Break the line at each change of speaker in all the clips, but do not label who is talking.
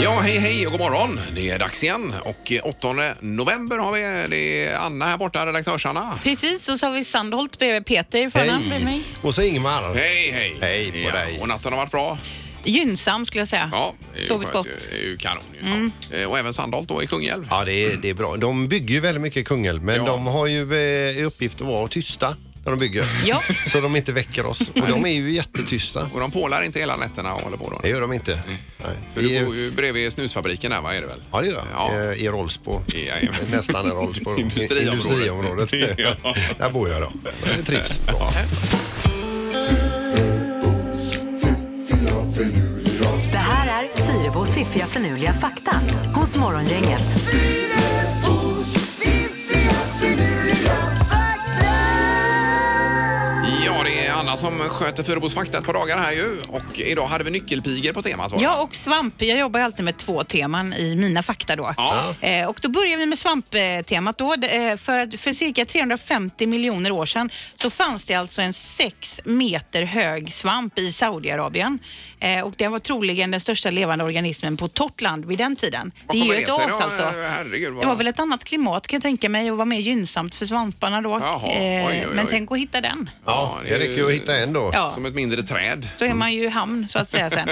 Hej och god morgon! Det är dags igen och 8 november har vi det är Anna här borta, redaktörs-Anna.
Precis, och så har vi Sandholt bredvid Peter i förnamn bredvid mig.
Och så Ingmar.
Hej, hej!
Hej på dig.
Och natten har varit bra.
Gynnsam skulle jag säga.
Ja, det är ju
Sovit
skönt.
gott. Mm.
Det är ju kanon. ju. Ja. Eh, Och även Sandholt då i Kungälv.
Ja, det är, det är bra. De bygger ju väldigt mycket i Kungälv, men
Ja.
de har ju eh, i uppgift att vara tysta när de bygger.
Ja.
Så de inte väcker oss. Och de är ju jättetysta.
Och de pålar inte hela nätterna och håller på då.
Det gör de inte. Nej.
Mm. För
Vi
du
är-
bor ju bredvid snusfabriken där, vad är det väl?
Ja, det gör
Ja.
jag. Eh, I Rollsbo.
Jajamän.
Nästan i Rollsbo.
Industriområdet.
Industriområdet.
Ja.
Där bor jag då. Jag trivs bra.
Det här är Fyrabos fiffiga förnuliga fakta hos Morgongänget.
Ja, det är Anna som sköter Fyrebos fakta ett par dagar här ju. Och idag hade vi nyckelpigor på temat va?
Ja, och svamp. Jag jobbar ju alltid med två teman i mina fakta då.
Ja.
Eh, och då börjar vi med svamptemat då. Det, eh, För, att- för cirka 350 miljoner år sedan så fanns det alltså en sex meter hög svamp i Saudiarabien. Eh, och den var troligen den största levande organismen på torrt land vid den tiden.
Vad
det är
kommer
ju ett
det sig
as
då? Eh,
alltså.
Herregud, vad-
Det var väl ett annat klimat kan jag tänka mig och var mer gynnsamt för svamparna då. Eh,
Jaha, oj, oj, oj.
Men tänk att hitta den.
Ja, det räcker ju att hitta en då.
Ja.
Som ett mindre träd.
så är man ju i hamn så att säga sen.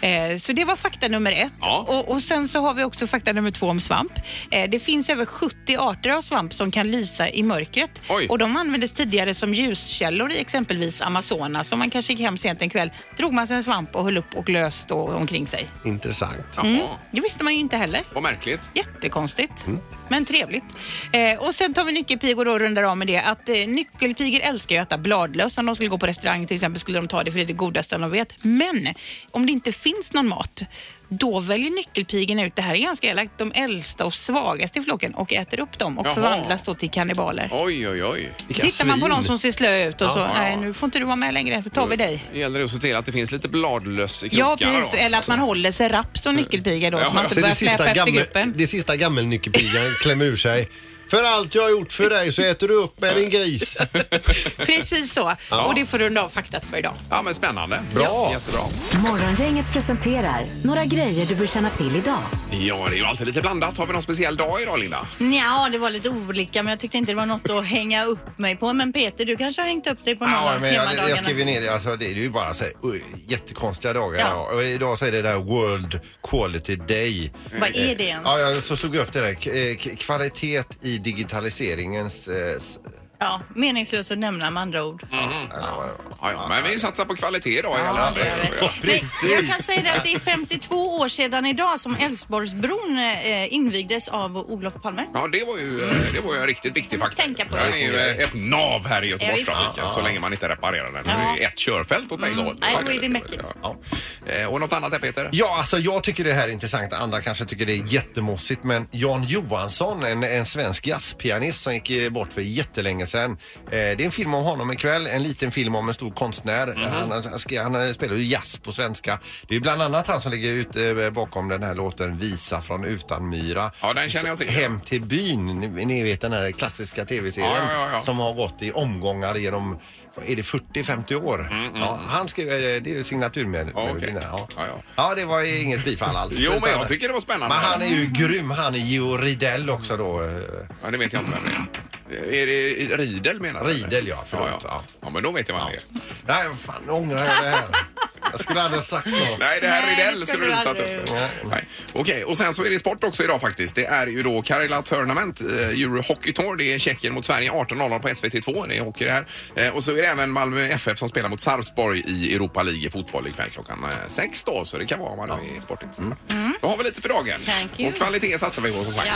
Eh, så det var fakta nummer ett.
Ja.
Och, och sen så har vi också fakta nummer två om svamp. Eh, det finns över 70 arter av svamp som kan lysa i mörkret.
Oj.
Och de användes tidigare som ljuskällor i exempelvis Amazonas. Om man kanske gick hem sent en kväll, drog man sig en svamp och höll upp och löst då omkring sig.
Intressant.
Jaha,
Mm.
Det visste man ju inte heller.
vad märkligt.
Jättekonstigt. Men trevligt. Eh, och sen tar vi nyckelpigor då och rundar av med det. Att eh, nyckelpigor älskar ju att äta bladlöss. Om de skulle gå på restaurang till exempel skulle de ta det för det är det godaste de vet. Men om det inte finns någon mat, då väljer nyckelpigorna ut, det här är ganska elakt, de äldsta och svagaste i flocken och äter upp dem och
Jaha.
förvandlas då till kannibaler.
Oj, oj, oj.
Vilka
Tittar man på
svin.
någon som ser slö ut och så,
ja, ja.
nej nu får inte du vara med längre, då tar vi dig.
Det gäller det att se till att det finns lite bladlöss i
Ja,
krokarna
precis.
då. alltså.
Eller att man håller sig rapp som nyckelpiga då,
Ja, Alltså,
så man inte
Så
börjar
det
släpa
sista,
efter
gammel,
gruppen.
det sista gammelnyckelpigan klämmer ur sig. För allt jag har gjort för dig så äter du upp med din gris.
Precis så. Och det får runda av faktat för idag.
Ja, men spännande.
Bra.
Ja, jättebra.
Morgongänget presenterar några grejer du bör känna till idag.
Ja, det är ju alltid lite blandat. Har vi någon speciell dag idag, Linda?
Ja, det var lite olika men jag tyckte inte det var något att hänga upp mig på. Men Peter, du kanske har hängt upp dig på någon
Ja,
av
men jag,
temadagarna?
jag skrev ju ner det. Alltså, det är ju bara så här, oj, jättekonstiga dagar
Ja.
idag. Och idag så är det där World Quality Day.
Vad är det ens?
Ja, jag, så slog jag upp det där. K- eh, k- Kvalitet i digitaliseringens... eh, s-
Ja, meningslöst att nämna med andra ord.
Ja, ja, men vi satsar på kvalitet idag. i alla
Ja,
fall.
det gör vi.
Ja.
Men jag kan säga det att det är 52 år sedan idag som Älvsborgsbron eh, invigdes av Olof Palme.
Ja, det var ju, eh, det var ju en riktigt viktig faktor.
Tänka på
Den
det.
är ju eh, ett nav här i Göteborgstrafiken
Ja,
så länge man inte reparerar den.
Ja.
Det är ett körfält åt bägge håll.
Nej,
Ja,
då är det mäckigt.
Ja. Eh, Och något annat där, Peter?
Ja, alltså jag tycker det här är intressant. Andra kanske tycker det är jättemossigt. Men Jan Johansson, en, en svensk jazzpianist som gick eh, bort för jättelänge sedan. Eh, det är en film om honom ikväll. En liten film om en stor konstnär.
Mhm.
Han, han, ska- han eh, spelar ju jazz på svenska. Det är bland annat han som ligger ut, eh, bakom den här låten Visa från Utanmyra.
Ja, den känner jag till.
Hem till byn. Ni, ni vet den här klassiska tv-serien
Ja, ja, ja, ja.
som har gått i omgångar genom vad är det 40-50 år? Ja, han skrev, eh, det är ju signaturmelodin.
Mm, Ja, okej.
här, ja.
Ja, ja.
Ja, det var ju inget bifall alls.
Jo, men jag
Utan-
tycker det var
Men
spännande.
han är ju grym. Han är Georg Riedel också då. eh,
Ja, det vet jag inte vem det är. Är det Riedel menar du?
Riedel, ja, förlåt,
Ja, ja.
ja.
ja, men då vet jag vad han är.
Nej, fan, nu ångrar jag det här. Jag skulle aldrig ha sagt något.
Nej, det här
Nej,
Rydell
det
skulle du inte ha tagit upp.
aldrig.
Nej. Okej, och sen så är det sport också idag faktiskt. Det är ju då Karela Tournament, eh, Euro Hockey Tour. Det är Tjeckien mot Sverige 18.00 på SVT2. Det är hockey det här. Eh, och så är det även Malmö FF som spelar mot Sarpsborg i Europa League i fotboll ikväll klockan eh, sex då. Så det kan vara om man är sportigt.
Mm.
Då har vi lite för dagen.
Thank you.
Och kvalitet satsar vi på som sagt.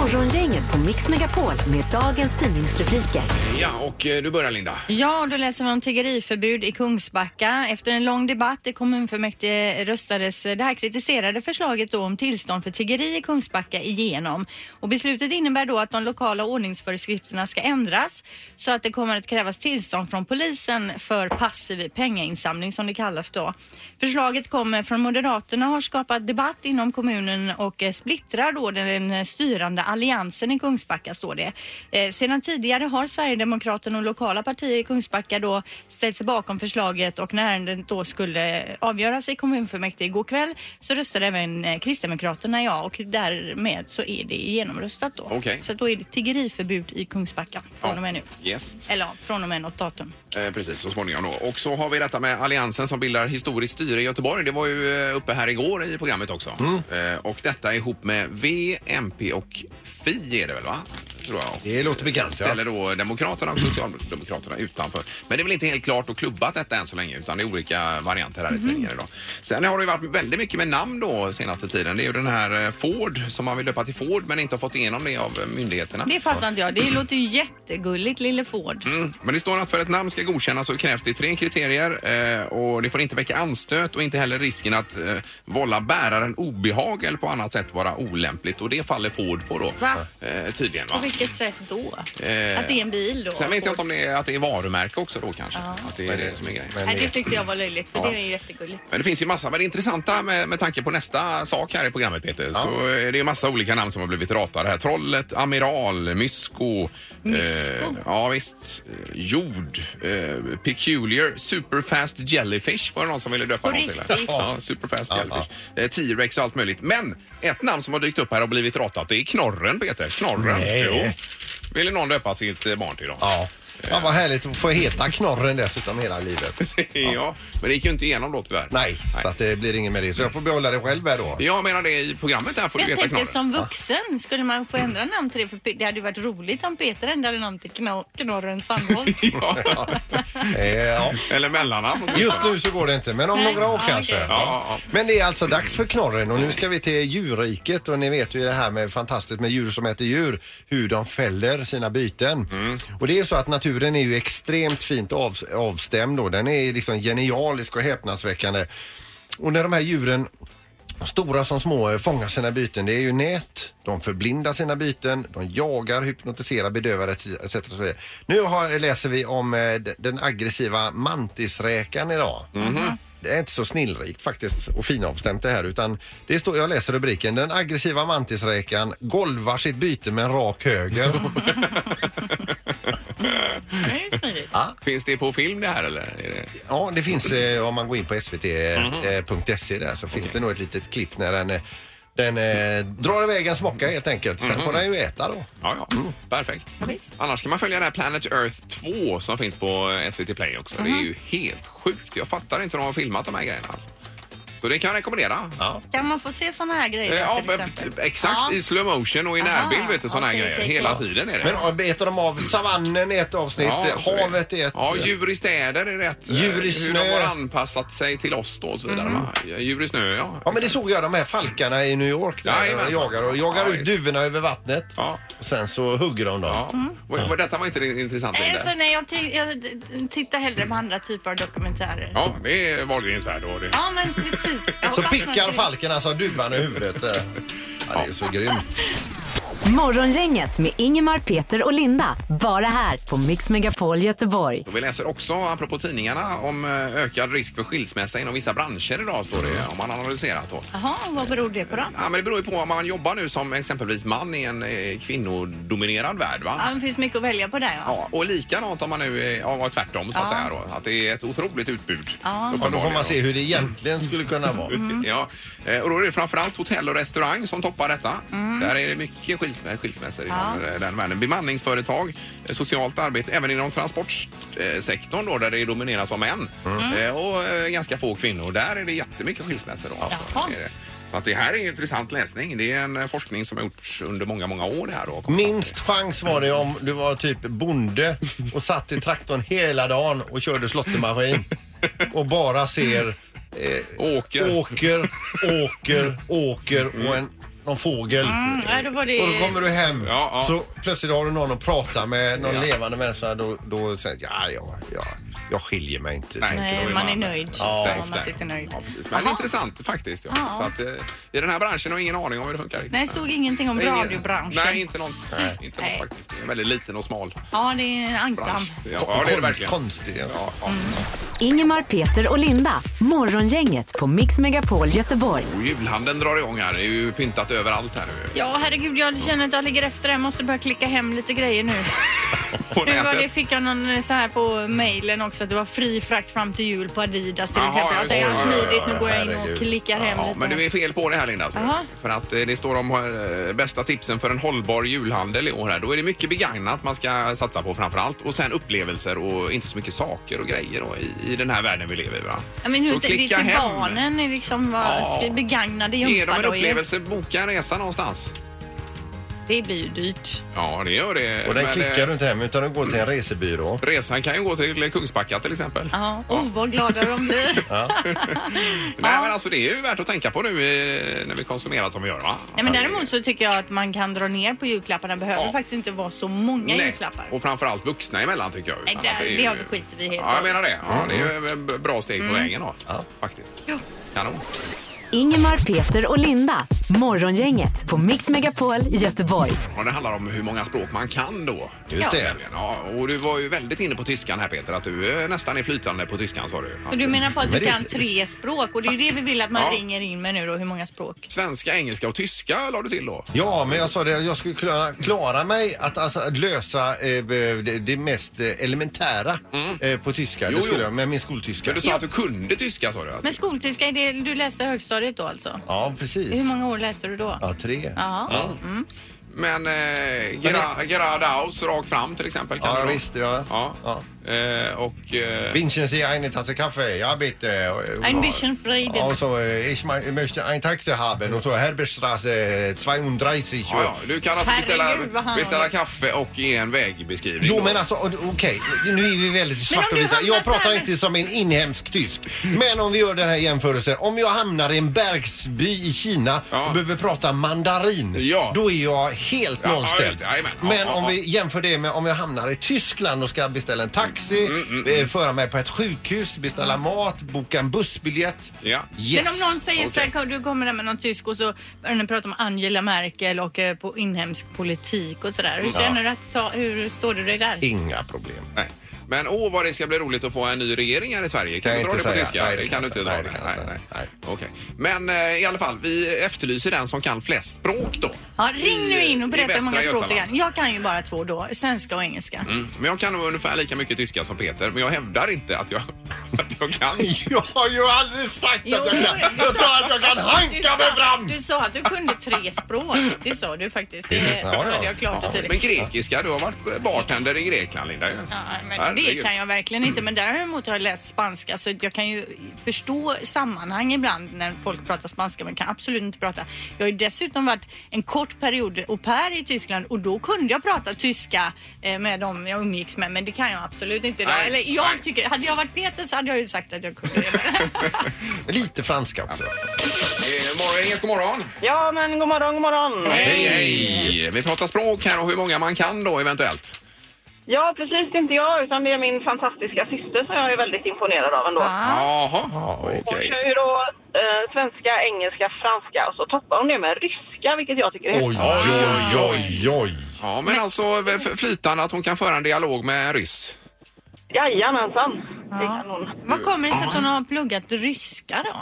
Morgongänget på Mix Megapol med dagens tidningsrubriker.
Ja, och eh, du börjar Linda.
Ja, då läser vi om tiggeriförbud i Kungsbacka. Efter en lång debatt i kommunfullmäktige röstades det här kritiserade förslaget då om tillstånd för tiggeri i Kungsbacka igenom. Och beslutet innebär då att de lokala ordningsföreskrifterna ska ändras så att det kommer att krävas tillstånd från polisen för passiv pengainsamling som det kallas då. Förslaget kommer från Moderaterna och har skapat debatt inom kommunen och eh, splittrar då den eh, styrande alliansen i Kungsbacka står det. Eh, sedan tidigare har Sverigedemokraterna och lokala partier i Kungsbacka då ställt sig bakom förslaget och när ärendet då skulle skulle avgöras i kommunfullmäktige igår kväll så röstade även eh, Kristdemokraterna ja och därmed så är det genomröstat då.
Okej.
Så då är det tiggeriförbud i Kungsbacka från och med nu.
Yes.
Eller ja, från och med något datum.
Eh, precis, så småningom då. Och så har vi detta med Alliansen som bildar historiskt styre i Göteborg. Det var ju eh, uppe här igår i programmet också.
Mm.
Eh, och detta ihop med V, MP och Fi är det väl va? Tror jag.
Det låter bekant, ja.
Ställer då Demokraterna och Socialdemokraterna utanför. Men det är väl inte helt klart och klubbat detta än så länge utan det är olika varianter här i
Mhm.
tidningar idag. Sen har det ju varit väldigt mycket med namn då senaste tiden. Det är ju den här eh, Ford som man vill döpa till Ford men inte har fått igenom det av eh, myndigheterna.
Det fattar inte jag. Det låter ju jättegulligt, Lille Ford.
Mm. Men det står att för att ett namn ska godkännas så krävs det tre kriterier eh, och det får inte väcka anstöt och inte heller risken att eh, vålla bäraren obehag eller på annat sätt vara olämpligt och det faller Ford på då.
Va?
Eh, tydligen va.
På vilket sätt då? Att
Eh,
det är en bil då?
Sen vet jag inte om det är, att det är varumärke också då kanske. Att det är det som är grejen.
Nej, det tyckte jag var löjligt för
Ja.
det är ju jättegulligt.
Men det finns ju massa, men det intressanta med, med tanke på nästa sak här i programmet Peter, så är det ju massa olika namn som har blivit ratade här. Trollet, Amiral, Mysko. eh,
Mysko?
ja visst. Eh, Jord, eh, Peculiar, Superfast Jellyfish var det någon som ville döpa
På
någon till. här.
riktigt?
Ja, Superfast
Ja,
Jellyfish. Eh, T-Rex och allt möjligt. Men ett namn som har dykt upp här och blivit ratat, det är Knorren Peter. Knorren.
Nej.
Ville någon döpa sitt eh, barn till då?
Ja. ja, vad härligt att få heta Knorren dessutom hela livet.
ja. Men det gick ju inte igenom då tyvärr.
Nej, så att det blir ingen med det. Så jag får behålla det själv här då.
Jag menar det i programmet här får du
Jag
veta
tänkte som
Knorren.
vuxen, skulle man få ändra namn till det? För det hade ju varit roligt om Peter ändrade namn till Kno- Knorren Sandholt.
Ja.
Eh, ja.
Eller mellannamn.
Just nu så går det inte, men om
Nej.
några år
Ja,
kanske.
okej.
Ja, ja.
Men det är alltså dags för knorren och nu ska vi till djurriket och ni vet ju det här med fantastiskt med djur som äter djur, hur de fäller sina byten. Och det är så att naturen är ju extremt fint av, avstämd och den är liksom genialisk och häpnadsväckande. Och när de här djuren Stora som små eh, fångar sina byten. Det är ju nät, de förblindar sina byten, de jagar, hypnotiserar, bedövar etc. etc. och så vidare. Nu har, läser vi om eh, d- den aggressiva mantisräkan idag. Det är inte så snillrikt faktiskt och finavstämt det här utan det står, jag läser rubriken, den aggressiva mantisräkan golvar sitt byte med en rak höger.
Det är ju smidigt.
Finns det på film det här eller? Är det...
Ja, det finns eh, om man går in på eh, svt.se E där så finns det nog ett litet klipp när den, eh, den eh, drar iväg en smocka helt enkelt. Sen får den ju äta då.
Ja, ja. Perfekt. Annars kan man följa den här Planet Earth 2 som finns på eh, SVT Play också. Det är ju helt sjukt. Jag fattar inte hur de har filmat de här grejerna. Alltså. Så det kan jag rekommendera.
Ja.
Kan man få se sådana här
Eh,
grejer?
Ja,
till
men
exempel?
typ exakt
Ja.
i slow motion och i
Aha,
närbild vet du sådana här
okej,
grejer.
okej,
Hela
okej.
tiden är det.
Men ja, äter de av savannen i ett avsnitt,
Ja, så är det.
havet i ett.
Ja, djur i städer är rätt. eh,
Djur i
Hur de
snö.
har anpassat sig till oss då och så vidare. va? Djur i snö, ja.
Ja men det såg jag de här falkarna i New York där
Jajamensan.
de jagar och jagar
Ja,
ut
visst.
duvorna över vattnet.
Ja.
Och sen så hugger de dem.
ja. Och- och Detta var inte det intressanta. i det.
Alltså, nej, jag, ty- jag d- d- tittar hellre på andra typer av dokumentärer. Ja,
Ja, det är Wahlgrens värld. och det-
men precis. Jag
Så
fastnar i
pickar
det.
falken alltså duvan i huvudet. eh. Ja, det är så grymt.
Morgongänget med Ingemar, Peter och Linda. Bara här på Mix Megapol Göteborg.
Och vi läser också, apropå tidningarna, om eh, ökad risk för skilsmässa inom vissa branscher idag, står det, om man analyserat då.
Jaha, vad beror det på då?
Ja, men det beror ju på om man jobbar nu som exempelvis man i en eh, kvinnodominerad värld, va?
Ja, det finns mycket att välja på där ja.
Ja, och likadant om man nu är ja, tvärtom så att säga då. Att det är ett otroligt utbud.
Ja,
uppenbarligen
då får man
då.
se hur det egentligen skulle kunna vara.
Mm.
Ja, eh, och då är det framförallt hotell och restaurang som toppar detta.
Mm.
Där är det mycket skilsmä- skilsmässor inom eh, den världen. Bemanningsföretag, eh, socialt arbete, även inom transportsektorn då där det domineras av män.
Mm.
Eh, Och eh, ganska få kvinnor. Där är det jättemycket skilsmässor. Då, alltså.
Jaha.
Det är det. Så att det här är intressant läsning. Det är en eh, forskning som har gjorts under många, många år. Det här då.
Mm.
Minst chans var det om du var typ bonde och satt i traktorn hela dagen och körde slåttermaskin och bara ser
Åker.
åker, åker, åker och en, någon fågel.
Mm, nej, då var
Och då
det...
kommer du hem
Ja, ja.
så plötsligt har du någon att prata med, någon
Ja.
levande människa. Då, då säger jag, ja, ja, ja, jag skiljer mig inte.
då är
Nej, man är nöjd.
Ja,
Ja,
safe
man
där.
sitter nöjd.
Ja, precis. Men
Jaha.
intressant faktiskt. Ja.
Ja.
Så att, eh, I den här branschen har jag ingen aning om hur det funkar. riktigt.
Nej, stod ingenting om
Nej, ingen-
radiobranschen.
Nej, inte något, Inte något
Nej.
faktiskt. Det är en väldigt liten och smal
Ja, det är en ankdamm.
bransch. Ja, ja det är det verkligen.
Konstigt.
Ja, ja.
Mm.
Ingemar, Peter och Linda. Morgongänget på Mix Megapol Göteborg.
Och julhandeln drar igång här. Det är ju pyntat överallt här nu.
Ja, herregud, jag känner att jag ligger efter. Jag måste börja klicka hem lite grejer nu.
På
Nu var det, fick jag någon så här på mejlen också att det var fri frakt fram till jul på Adidas till
Jaha,
exempel.
ja,
Att det är
just det. Ja,
smidigt,
ja,
nu
ja,
går jag in och
herregud.
klickar hem
Ja,
lite.
men du är fel på det här Linda. tror jag.
Jaha.
För att eh, det står om eh, bästa tipsen för en hållbar julhandel i år här. Då är det mycket begagnat man ska satsa på framför allt och sen upplevelser och inte så mycket saker och grejer då, i, i den här världen vi lever i. Va?
Ja, men hur
så
inte- det är till barnen är liksom vad,
Ja.
ska begagnade
Ge dem en
gympadojor.
upplevelse, boka en resa någonstans.
Det blir ju dyrt.
Ja, det gör det.
Och den
Men,
klickar
eh,
du inte hem utan den går till en resebyrå.
Resan kan ju gå till Kungsbacka till exempel.
Ja, oh vad glada de blir.
Nej, men alltså det är ju värt att tänka på nu eh, när vi konsumerar som vi gör va? Alltså,
Nej, men däremot så tycker jag att man kan dra ner på julklapparna. behöver
Ja.
faktiskt inte vara så många
Nej,
julklappar.
Och framförallt vuxna emellan tycker jag.
Nej,
Utan
där-
att
det har vi skiter vi helt Mm.
Ja, jag
och
menar det. Ja, det är ju ett bra steg på vägen då. Faktiskt. Kanon.
Ingemar, Peter och Linda. Morgongänget på Mix Megapol Göteborg.
Och det handlar om hur många språk man kan då.
Just
Ja.
det.
Ja, och du var ju väldigt inne på tyskan här Peter, att du eh, nästan är flytande på tyskan sa du.
Och du menar på att
Men
du
det-
kan tre språk och det är ju det vi vill att man
Ja.
ringer in med nu då, hur många språk?
Svenska, engelska och tyska la du till då?
Ja, men jag sa det, jag skulle klara, klara mig att, alltså, att lösa eh, be- det, det mest eh, elementära eh, på tyska.
Mm. Jo,
det skulle
jo.
jag med min skoltyska.
Men du sa att du kunde tyska sa du? Att-
Men skoltyska, är det du läste högstadiet då alltså?
Ja,
Hur
precis.
många år läste du då?
Ja, tre.
Ja.
Men eh, Gera, Gerardaus rakt fram till exempel kan
Ja,
du då?
visst, ja.
ja. Eh, och... Eh,
Vinchen säger eine Tasse Kaffee, ja bitte. Och-
Ein bisschen Frieden.
Ja, och så, eh, ich ma- möchte ein Taxi haben och så Herberstrasse 230.
Ja, ja, du kan alltså beställa,
Herregud, vad han-
beställa kaffe och ge en vägbeskrivning.
Jo
då.
men alltså och- okej, nu är vi väldigt
Men om
svarta och
du
vita.
hamnar
Jag
så här-
pratar inte som en inhemsk tysk. Men om vi gör den här jämförelsen. Om jag hamnar i en bergsby i Kina
Ja.
och behöver prata mandarin.
Ja.
Då är jag helt
Ja, ja,
nollställd.
just det. Jajamän. Ja,
men
ja,
om
ja.
vi jämför det med om jag hamnar i Tyskland och ska beställa en taxi,
Mm,
eh, föra mig på ett sjukhus, beställa mat, boka en bussbiljett.
Ja.
Yes.
Men om någon säger
Okej.
så här, du kommer där med någon tysk och så börjar ni prata om Angela Merkel och eh, på inhemsk politik och sådär. Hur känner du att ta, hur står du dig där?
Inga problem.
Nej. Men åh vad det ska bli roligt att få en ny regering här i Sverige.
Kan
Kan du
jag
dra det
inte
på
säga.
tyska?
Nej, det
det
kan
kan du
jag
inte
inte.
dra.
Nej, det kan jag inte. Nej.
Okej. Men eh, i alla fall, vi efterlyser den som kan flest språk då.
Ja, ring nu in och
I
berätta hur
Västra
många språk du
Götaland.
kan. Jag kan ju bara två då, svenska och engelska.
Mm. Men jag kan nog ungefär lika mycket tyska som Peter, men jag hävdar inte att jag, att jag kan.
Jag har ju aldrig sagt
Jo,
att jag kan.
du
Jag sa att jag kan
Du
hanka mig
sa-
fram.
Du sa att du kunde tre språk. Det sa du faktiskt. Det
Ja, ja.
hörde jag klart och
Men
tydligt.
grekiska, du har varit bartender i Grekland Linda ju.
Typ. Ja, men det
Herregud.
kan jag verkligen inte. Men däremot har jag läst spanska så jag kan ju förstå sammanhang ibland när folk pratar spanska men kan absolut inte prata. Jag har ju dessutom varit en kort period au pair i Tyskland och då kunde jag prata tyska eh, med dem jag umgicks med men det kan jag absolut inte idag.
Nej,
Eller jag
nej.
tycker, hade jag varit Peter så hade jag ju sagt att jag kunde det. Men-
Lite franska också.
Eh, morgon, Inget, god morgon.
Ja, men god morgon, god morgon.
Hej, hej. Vi pratar språk här och hur många man kan då eventuellt.
Ja, precis. Det är inte jag, utan det är min fantastiska syster som jag är väldigt imponerad av ändå.
Ja.
Jaha, okej.
Hon kan ju då eh, svenska, engelska, franska och så toppar hon det med ryska, vilket jag tycker är
Oj, oj, oj, oj.
Ja, men alltså v- f- flytande att hon kan föra en dialog med en ryss.
Jajamensan, det
Ja.
kan hon.
Vad kommer det sig att hon har pluggat ryska då?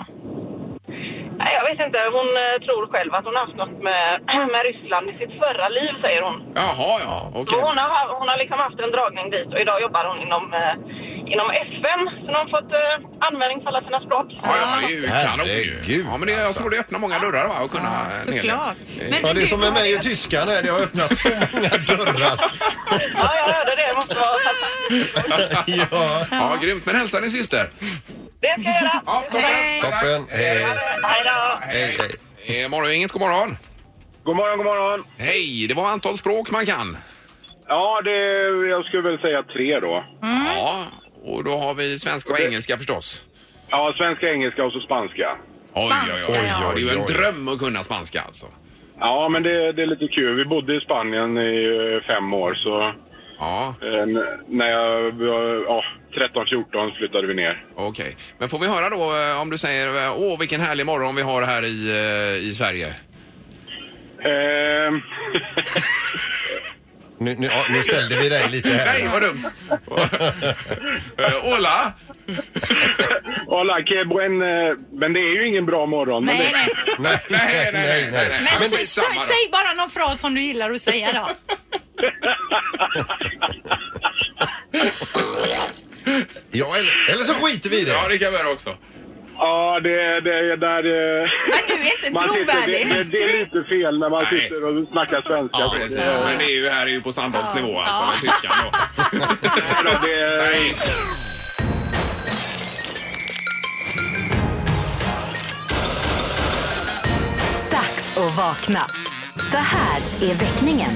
Nej, jag vet inte. Hon eh, tror själv att hon har haft något med, med Ryssland i sitt förra liv, säger hon.
Jaha, ja, okej.
Så hon, har, hon har liksom haft en dragning dit och idag jobbar hon inom, eh, inom FN. Så hon har fått eh, användning för alla sina språk.
Ja, ja, det är ju kanon ju.
Herregud,
Ja, men det, jag
alltså.
tror det öppnar många dörrar va, att kunna
Ja,
en hel del.
såklart. Men
Ja, det är
du-
som med mig och tyskan här. Det har öppnat så många dörrar.
Ja, jag hörde det. Det måste vara fantastiskt.
Ja,
Ja, grymt. Men hälsa din syster.
Det ska jag göra.
Ja, toppen.
toppen. Hej,
Hej då.
hej, hej.
Eh, morgon, inget god morgon.
God morgon, god morgon.
Hej, det var antal språk man kan.
Mm.
Ja, det, jag skulle väl säga tre då.
Ja, och då har vi svenska och engelska förstås.
Ja, svenska, engelska och så spanska.
Oj,
Spanska, ja.
Det är ju en
Oj, oj.
dröm att kunna spanska alltså.
Ja, men det, det är lite kul. Vi bodde i Spanien i eh, fem år, så
Ja,
eh, n- när jag var ja, 13-14 flyttade vi ner.
okej. Men får vi höra då eh, om du säger eh, åh vilken härlig morgon vi har här i, eh, i Sverige?
Eh,
Nu, nu, ja, nu ställde vi dig lite
Nej,
här.
vad dumt! Eh, Ola!
Hola, que buen, eh, men det är ju ingen bra morgon. men
Nej,
det,
nej.
Nej,
Nej, nej, nej, nej, nej.
Men,
Men
sä-
skitsamma
sä-
då.
säg bara någon fras som du gillar att säga då.
Ja, eller, eller så skiter vi i det.
Ja, det kan vi göra också.
Ja, det, det är där... eh,
Men du är inte
man sitter, det,
trovärdig.
det, det är lite fel när man
Nej.
sitter och snackar svenska.
Ja,
så det,
precis. Men det är ju, här är ju på Sandholts nivå alltså, med tyskan då.
Nej då, det,
Nej.
Dags att vakna. Det här är väckningen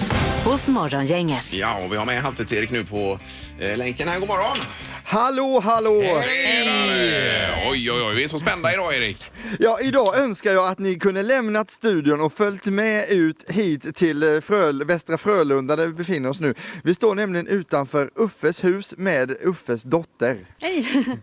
hos Morgongänget.
Ja, och vi har med Halvtids-Erik nu på eh, länken här. God morgon!
Hallå, hallå!
Hej! Oj, oj, oj, vi är så spända idag Erik.
Ja, idag önskar jag att ni kunde lämnat studion och följt med ut hit till eh, Fröl Västra Frölunda där vi befinner oss nu. Vi står nämligen utanför Uffes hus med Uffes dotter.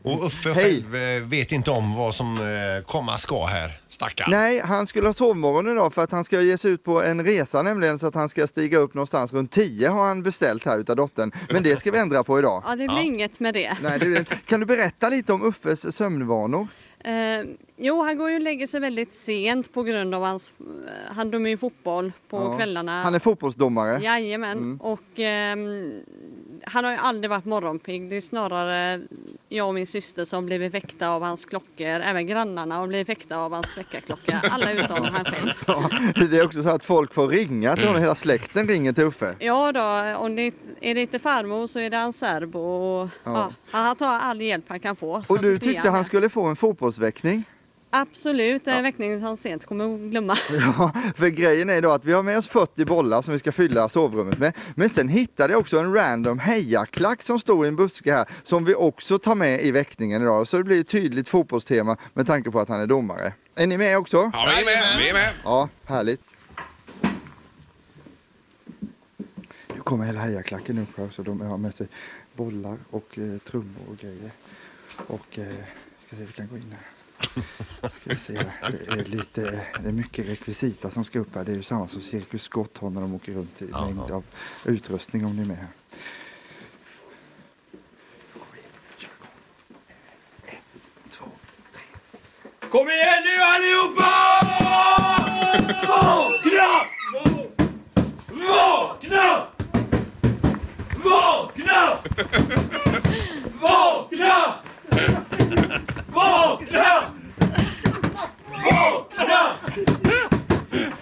Och Uffe
Hej.
själv eh, vet inte om vad som eh, komma ska här. Stackarn.
Nej, han skulle ha sovmorgon idag för att han ska ge sig ut på en resa nämligen så att han ska stiga upp någonstans runt 10 har han beställt här utav dottern. Men det ska vi ändra på idag.
Ja, det blir inget med det.
Nej, det, är det. kan du berätta lite om Uffes sömnvanor?
Eh, jo, han går ju och lägger sig väldigt sent på grund av hans... eh, Han dömer ju fotboll på
Ja.
kvällarna.
Han är Mm. fotbollsdomare.
Jajamän. Och ehm, han har ju aldrig varit morgonpigg. Det är snarare jag och min syster som blivit väckta av hans klockor. Även grannarna har blivit väckta av hans väckarklocka. Alla utom han själv.
Ja, det är också så att folk får ringa till honom, hela släkten ringer till Uffe.
Ja då, om det, är det inte farmor så är det hans särbo. Och, ja. han tar all hjälp han kan få.
Och
som
du
Pia
tyckte han
här.
skulle få en fotbollsväckning?
Absolut, det är en väckning han sent kommer att glömma.
Ja, för grejen är då att vi har med oss 40 bollar som vi ska fylla sovrummet med. Men sen hittade jag också en random hejaklack som stod i en buske här som vi också tar med i väckningen idag. Så det blir ett tydligt fotbollstema med tanke på att han är domare. Är ni med också?
Ja, vi är med, vi är med.
Ja, härligt. Nu kommer hela hejaklacken upp här så de har med sig bollar och eh, trummor och grejer. Och eh, ska se, vi kan gå in här. Ska vi se här. Det är lite, det är mycket rekvisita som ska upp här. Det är ju samma som Cirkus Scott har när de åker runt i mängd av utrustning om ni är med här. Då går vi in. Kör igång. Ett, två, tre.
Kom igen nu allihopa! Vakna! Vakna! Vakna! Vakna! Vakna! Vakna!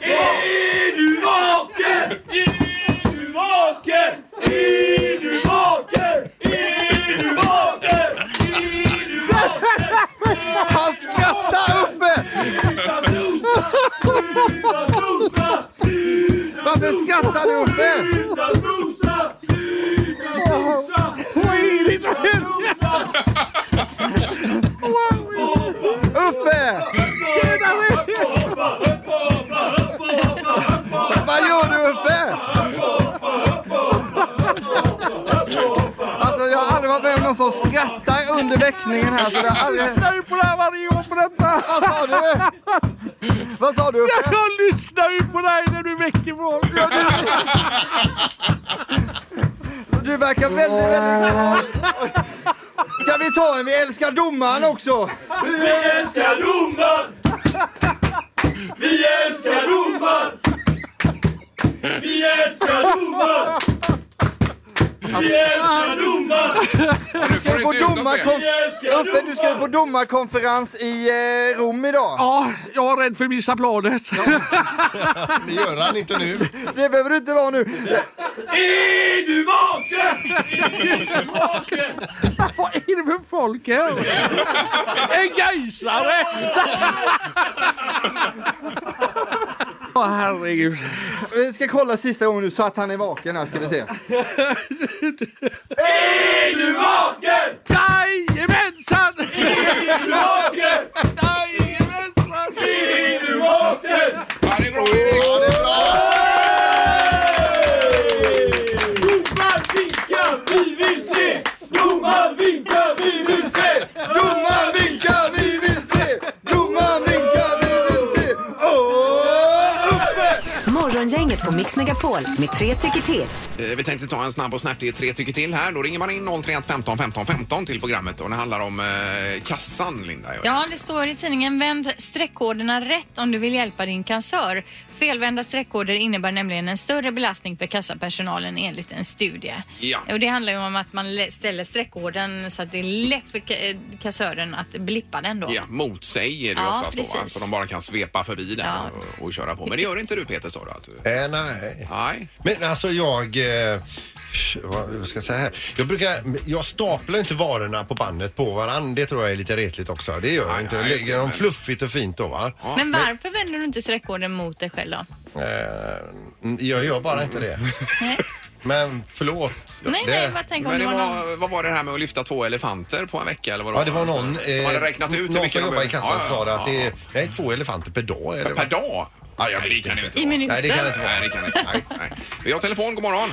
Är du vaken? Är du vaken? Är du vaken? Är du vaken? Är du vaken?
Han skrattar Uffe!
Sluta snosa! Sluta snosa! Sluta
Varför skrattar du Uffe?
snosa! Sluta snosa! Vad är det som händer?
Uffe! Vad gör du Uffe? Alltså jag har aldrig varit med om någon som skrattar under väckningen här. Så det har aldrig...
Lyssnar du på det här varje gång på detta?
Vad sa du? Vad sa du Uffe?
Jag lyssnar ju på dig när du väcker folk.
Du verkar väldigt, väldigt glad. Ska vi ta en Vi älskar domaren också?
Vi älskar domaren! Vi älskar domaren! Vi älskar domaren! Vi älskar domaren!
Du
Ska du på domarkonf...
Vi älskar
Uffe, du ska ju på
domaren!
domarkonferens i eh, Rom idag.
Ja, jag är rädd för att missa bladet.
Det gör han inte nu.
Det behöver du inte vara nu.
Är du vaken? Är du vaken? Vad är det för folk här? En gaisare! Åh herregud.
Vi ska kolla sista gången nu så att han är vaken här ska vi se.
Är du vaken? Jajamensan! Är du vaken? Jajamensan! Är du vaken?
Ja, det är bra Erik! Ja, det är bra!
Domaren vinkar, vi vill se! Domaren vinkar, vi vill se!
Domaren vinkar, vi vill se! Domaren vinkar, vi vill se! Åh, uppe!
Morgongänget på Mix Megapol med tre tycker till.
Eh, Vi tänkte ta en snabb och snärtig tre tycker till här. Då ringer man in 031 15 15 15 till programmet och det handlar om eh, kassan, Linda.
Ja, det står i tidningen Vänd streckkoderna rätt om du vill hjälpa din cancer. Felvända streckkoder innebär nämligen en större belastning för kassapersonalen enligt en studie.
Ja.
Och det handlar ju om att man lä- ställer streckkoden så att det är lätt för ka- eh, kassören att blippa den då.
Ja, motsäger det
Ja,
oftast då, va?
precis.
så de bara kan svepa förbi där och, och köra på. Men det gör inte du Peter sa du? Att du...
Eh, nej.
nej.
Men alltså jag... Eh, vad vad ska jag säga här? Jag brukar... Jag staplar inte varorna på bandet på varandra. Det tror jag är lite retligt också. Det gör jag inte. Jag
nej, just
lägger
det,
dem
men-
fluffigt och fint då va?
Men varför vänder du inte streckkoden mot dig själv då?
Men, eh, jag gör bara inte det. Men förlåt.
Nej,
Det-
nej, vad tänker om
Men
det
det
var någon...
var, vad var det här med att lyfta två elefanter på en vecka eller vad Alltså,
Ja, det var någon... eh,
som hade räknat ut hur
någon
mycket
som
de
jobbade i
behövde.
kassan
Ja, ja,
sa det att
ja,
det är nej, två elefanter per dag. Är det,
ja.
va?
Per dag? Ja, jag vet kan det ju inte
I
vara.
minuten?
Nej, det kan det inte vara.
Nej, det kan det inte. Nej, nej. Vi har telefon, god morgon.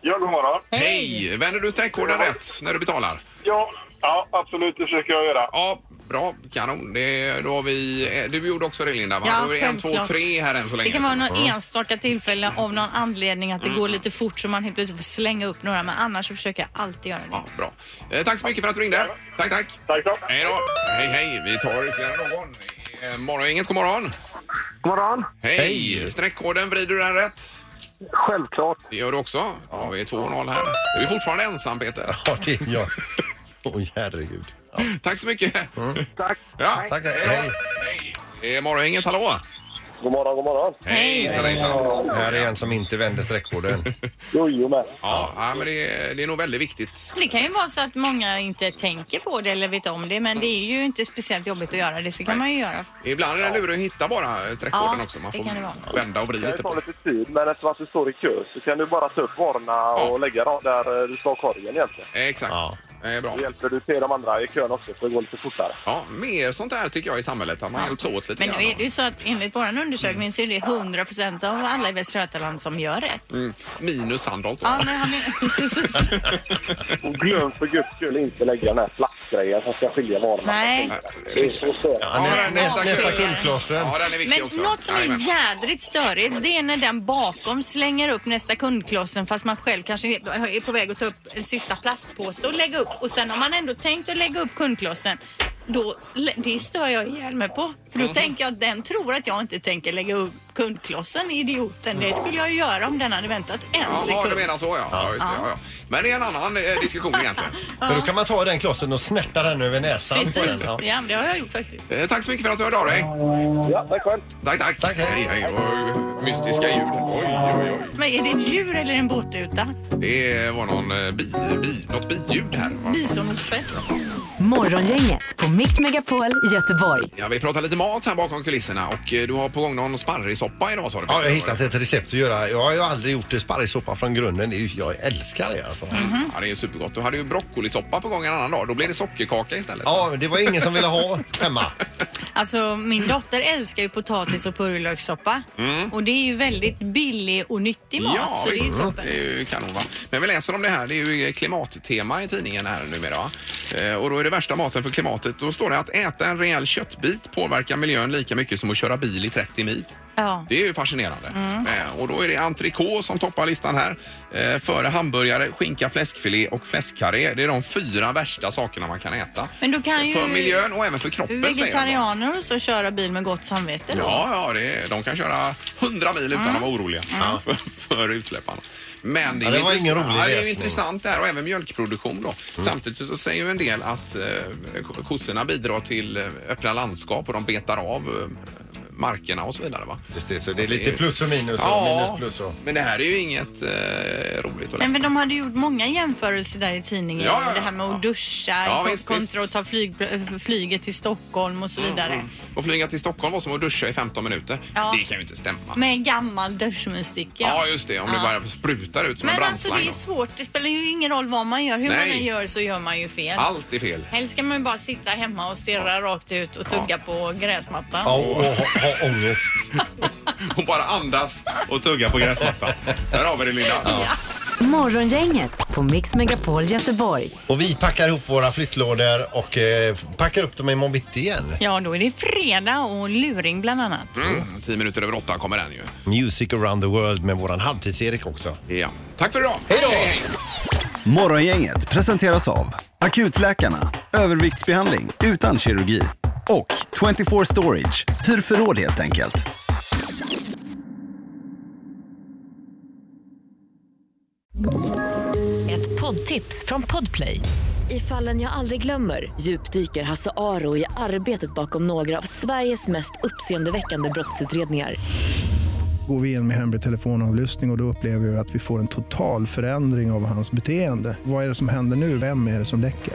Ja, god morgon.
Hej! Vänder du streckkoden rätt när du betalar?
Ja, ja absolut, det försöker jag göra.
Ja, bra. Kanon. Det, då har vi, eh, du gjorde också det Linda, va?
Ja,
då är det en, två,
självklart.
tre här än så länge.
Det kan vara något
Ja.
enstaka tillfälle av någon anledning att det går lite fort så man helt plötsligt får slänga upp några men annars så försöker jag alltid göra det.
Ja, bra. Eh, tack så mycket för att du ringde. Tack, tack.
Tack så.
Hej då. Hej, hej. Vi tar ytterligare någon. Eh, Morgongänget, god morgon.
God morgon.
Hej. Streckkoden, vrider du den rätt?
Självklart.
Det gör du också. Ja, vi är 2-0 här. Du är fortfarande ensam, Peter.
Ja, det är jag. Åh herregud.
Tack så mycket.
Tack.
Ja.
Tack, hej.
Mm. Hej. Eh, Morgongänget, hallå.
God morgon, god morgon.
Hej. Hejsan, hejsan.
Här är en som inte vänder streckkoden.
Jojomän.
Ja, ja, men det, är- det är nog väldigt viktigt.
Det kan ju vara så att många inte tänker på det eller vet om det men det är ju inte speciellt jobbigt att göra det så kan man ju göra.
Ibland är det lurig att hitta bara streckkoden
Ja,
också. Man
det
får
kan det vara.
vända och vrida
Det
lite
tar
på
lite tid, men eftersom att du står i kö så kan du bara ta upp varorna och lägga dem där eh, du ska ha korgen egentligen.
Eh, Exakt.
Ja.
Eh, Bra.
Då hjälper du till de andra i kön också, så det går lite fortare.
Ja, mer sånt här tycker jag i samhället, att man hjälps åt lite
Men nu
grann.
är det ju så att enligt vår undersökning så är det 100 procent av alla i Västra Götaland som gör rätt.
Mm. Minus Sandholt då.
Ja, men han är... precis.
Och glöm för guds skull inte lägga den här plastgrejen som ska skilja varorna.
Nej.
Det är så störigt.
Ja, nä,
den är
nästa
viktig.
nästa kundklossen.
Ja, den är viktig
Men
också.
något som
Jajamän.
är jädrigt störigt det är när den bakom slänger upp nästa kundklossen fast man själv kanske är på väg att ta upp en sista plastpåse och lägga upp och sen har man ändå tänkt att lägga upp kundklossen då, det stör jag ihjäl mig på. För då
Mm.
tänker jag att den tror att jag inte tänker lägga upp kundklossen, idioten. Det skulle jag ju göra om den hade väntat en
Jaha,
sekund.
du menar så ja. ja, just det, ja. ja. Men det är en annan eh, diskussion egentligen.
Men då kan man ta den klossen och snärta den över näsan. På den.
Precis,
Ja.
ja, men det har jag gjort faktiskt.
Eh, tack så mycket för att du hörde av dig.
Ja, tack själv.
Tack, tack.
Tack, hej.
hej. Oj, mystiska ljud. Oj, oj, oj.
Men är det ett djur eller en båtuta?
Det var någon eh, bi, bi, något biljud här. va?
Mm. Bisonoxe?
Morgongänget på Mix Megapol Göteborg.
Ja, vi pratar lite mat här bakom kulisserna och eh, du har på gång någon sparrissoppa idag sa du.
Ja, jag har hittat ett recept att göra. Jag har ju aldrig gjort det sparrissoppa från grunden. Det är ju- Jag älskar det alltså.
Ja, det är ju supergott. Du hade ju broccolisoppa på gång en annan dag. Då blev det sockerkaka istället.
Ja, det var ingen som ville ha hemma.
Alltså min dotter älskar ju potatis och purjolökssoppa. Och det är ju väldigt billig och nyttig mat.
Mm. Ja,
så det är ju
visst.
toppen.
Det är ju kanon. Va? Men vi läser om det här. Det är ju klimattema i tidningen här numera. va? Eh, Och då är det värsta maten för klimatet. Då står det att äta en rejäl köttbit påverkar miljön lika mycket som att köra bil i 30 mil.
Ja.
Det är ju fascinerande.
Mm.
Eh, Och då är det entrecote som toppar listan här. Eh, Före hamburgare, skinka, fläskfilé och fläskkarré. Det är de fyra värsta sakerna man kan äta.
Men då kan ju
För miljön och även för kroppen säger de. då.
vegetarianer och så köra bil med gott samvete då.
Ja, ja det, de kan köra 100 mil utan att vara oroliga för, för utsläppen. Men det, är
Ja, det
ju
var ingen
intressant-
rolig Mm.
ja, Det är ju
läsning.
intressant där och även mjölkproduktion då. Samtidigt så säger ju en del att eh, ko- kossorna bidrar till eh, öppna landskap och de betar av eh, markerna och så vidare. Va?
Just det, så det är
Det är
lite
ju-
plus och minus och minus plus och...
men det här är ju inget eh, roligt att
Nej,
läsa.
men de hade gjort många jämförelser där i tidningen.
Ja, ja, ja.
Det här med att duscha
Ja,
ko-
visst, Mm,
kontra
visst.
att ta flyg, flyget till Stockholm och så vidare.
Och flyga till Stockholm var som att duscha i 15 minuter.
Ja.
Det kan ju inte stämma.
Med gammal duschmusik.
ja. just det. Om det bara sprutar ut som en
Men alltså
brandslang.
det är svårt. Det spelar ju ingen roll vad man gör. Hur
Nej.
man än gör så gör man ju fel.
då. Allt är fel.
Helst ska man ju bara sitta hemma och stirra rakt ut och tugga på gräsmattan.
Ja, och, och ha, ha ångest.
Hon bara andas och tuggar på gräsmattan. Där har vi det Linda.
Morgongänget på Mix Megapol Göteborg.
Och vi packar ihop våra flyttlådor och eh, packar upp dem i morgon bitti igen.
Ja, då är det fredag och luring bland annat.
Mm, tio minuter över åtta kommer den ju.
Music around the world med våran halvtids-Erik också.
Ja. Tack för idag.
Hej då!
Morgongänget presenteras av Akutläkarna, överviktsbehandling utan kirurgi och 24 Storage, hur förråd helt enkelt.
Poddtips från Podplay. I fallen jag aldrig glömmer djupdyker Hasse Aro i arbetet bakom några av Sveriges mest uppseendeväckande brottsutredningar.
Går vi in med hemlig telefonavlyssning och, och då upplever vi att vi får en total förändring av hans beteende. Vad är det som händer nu? Vem är det som läcker?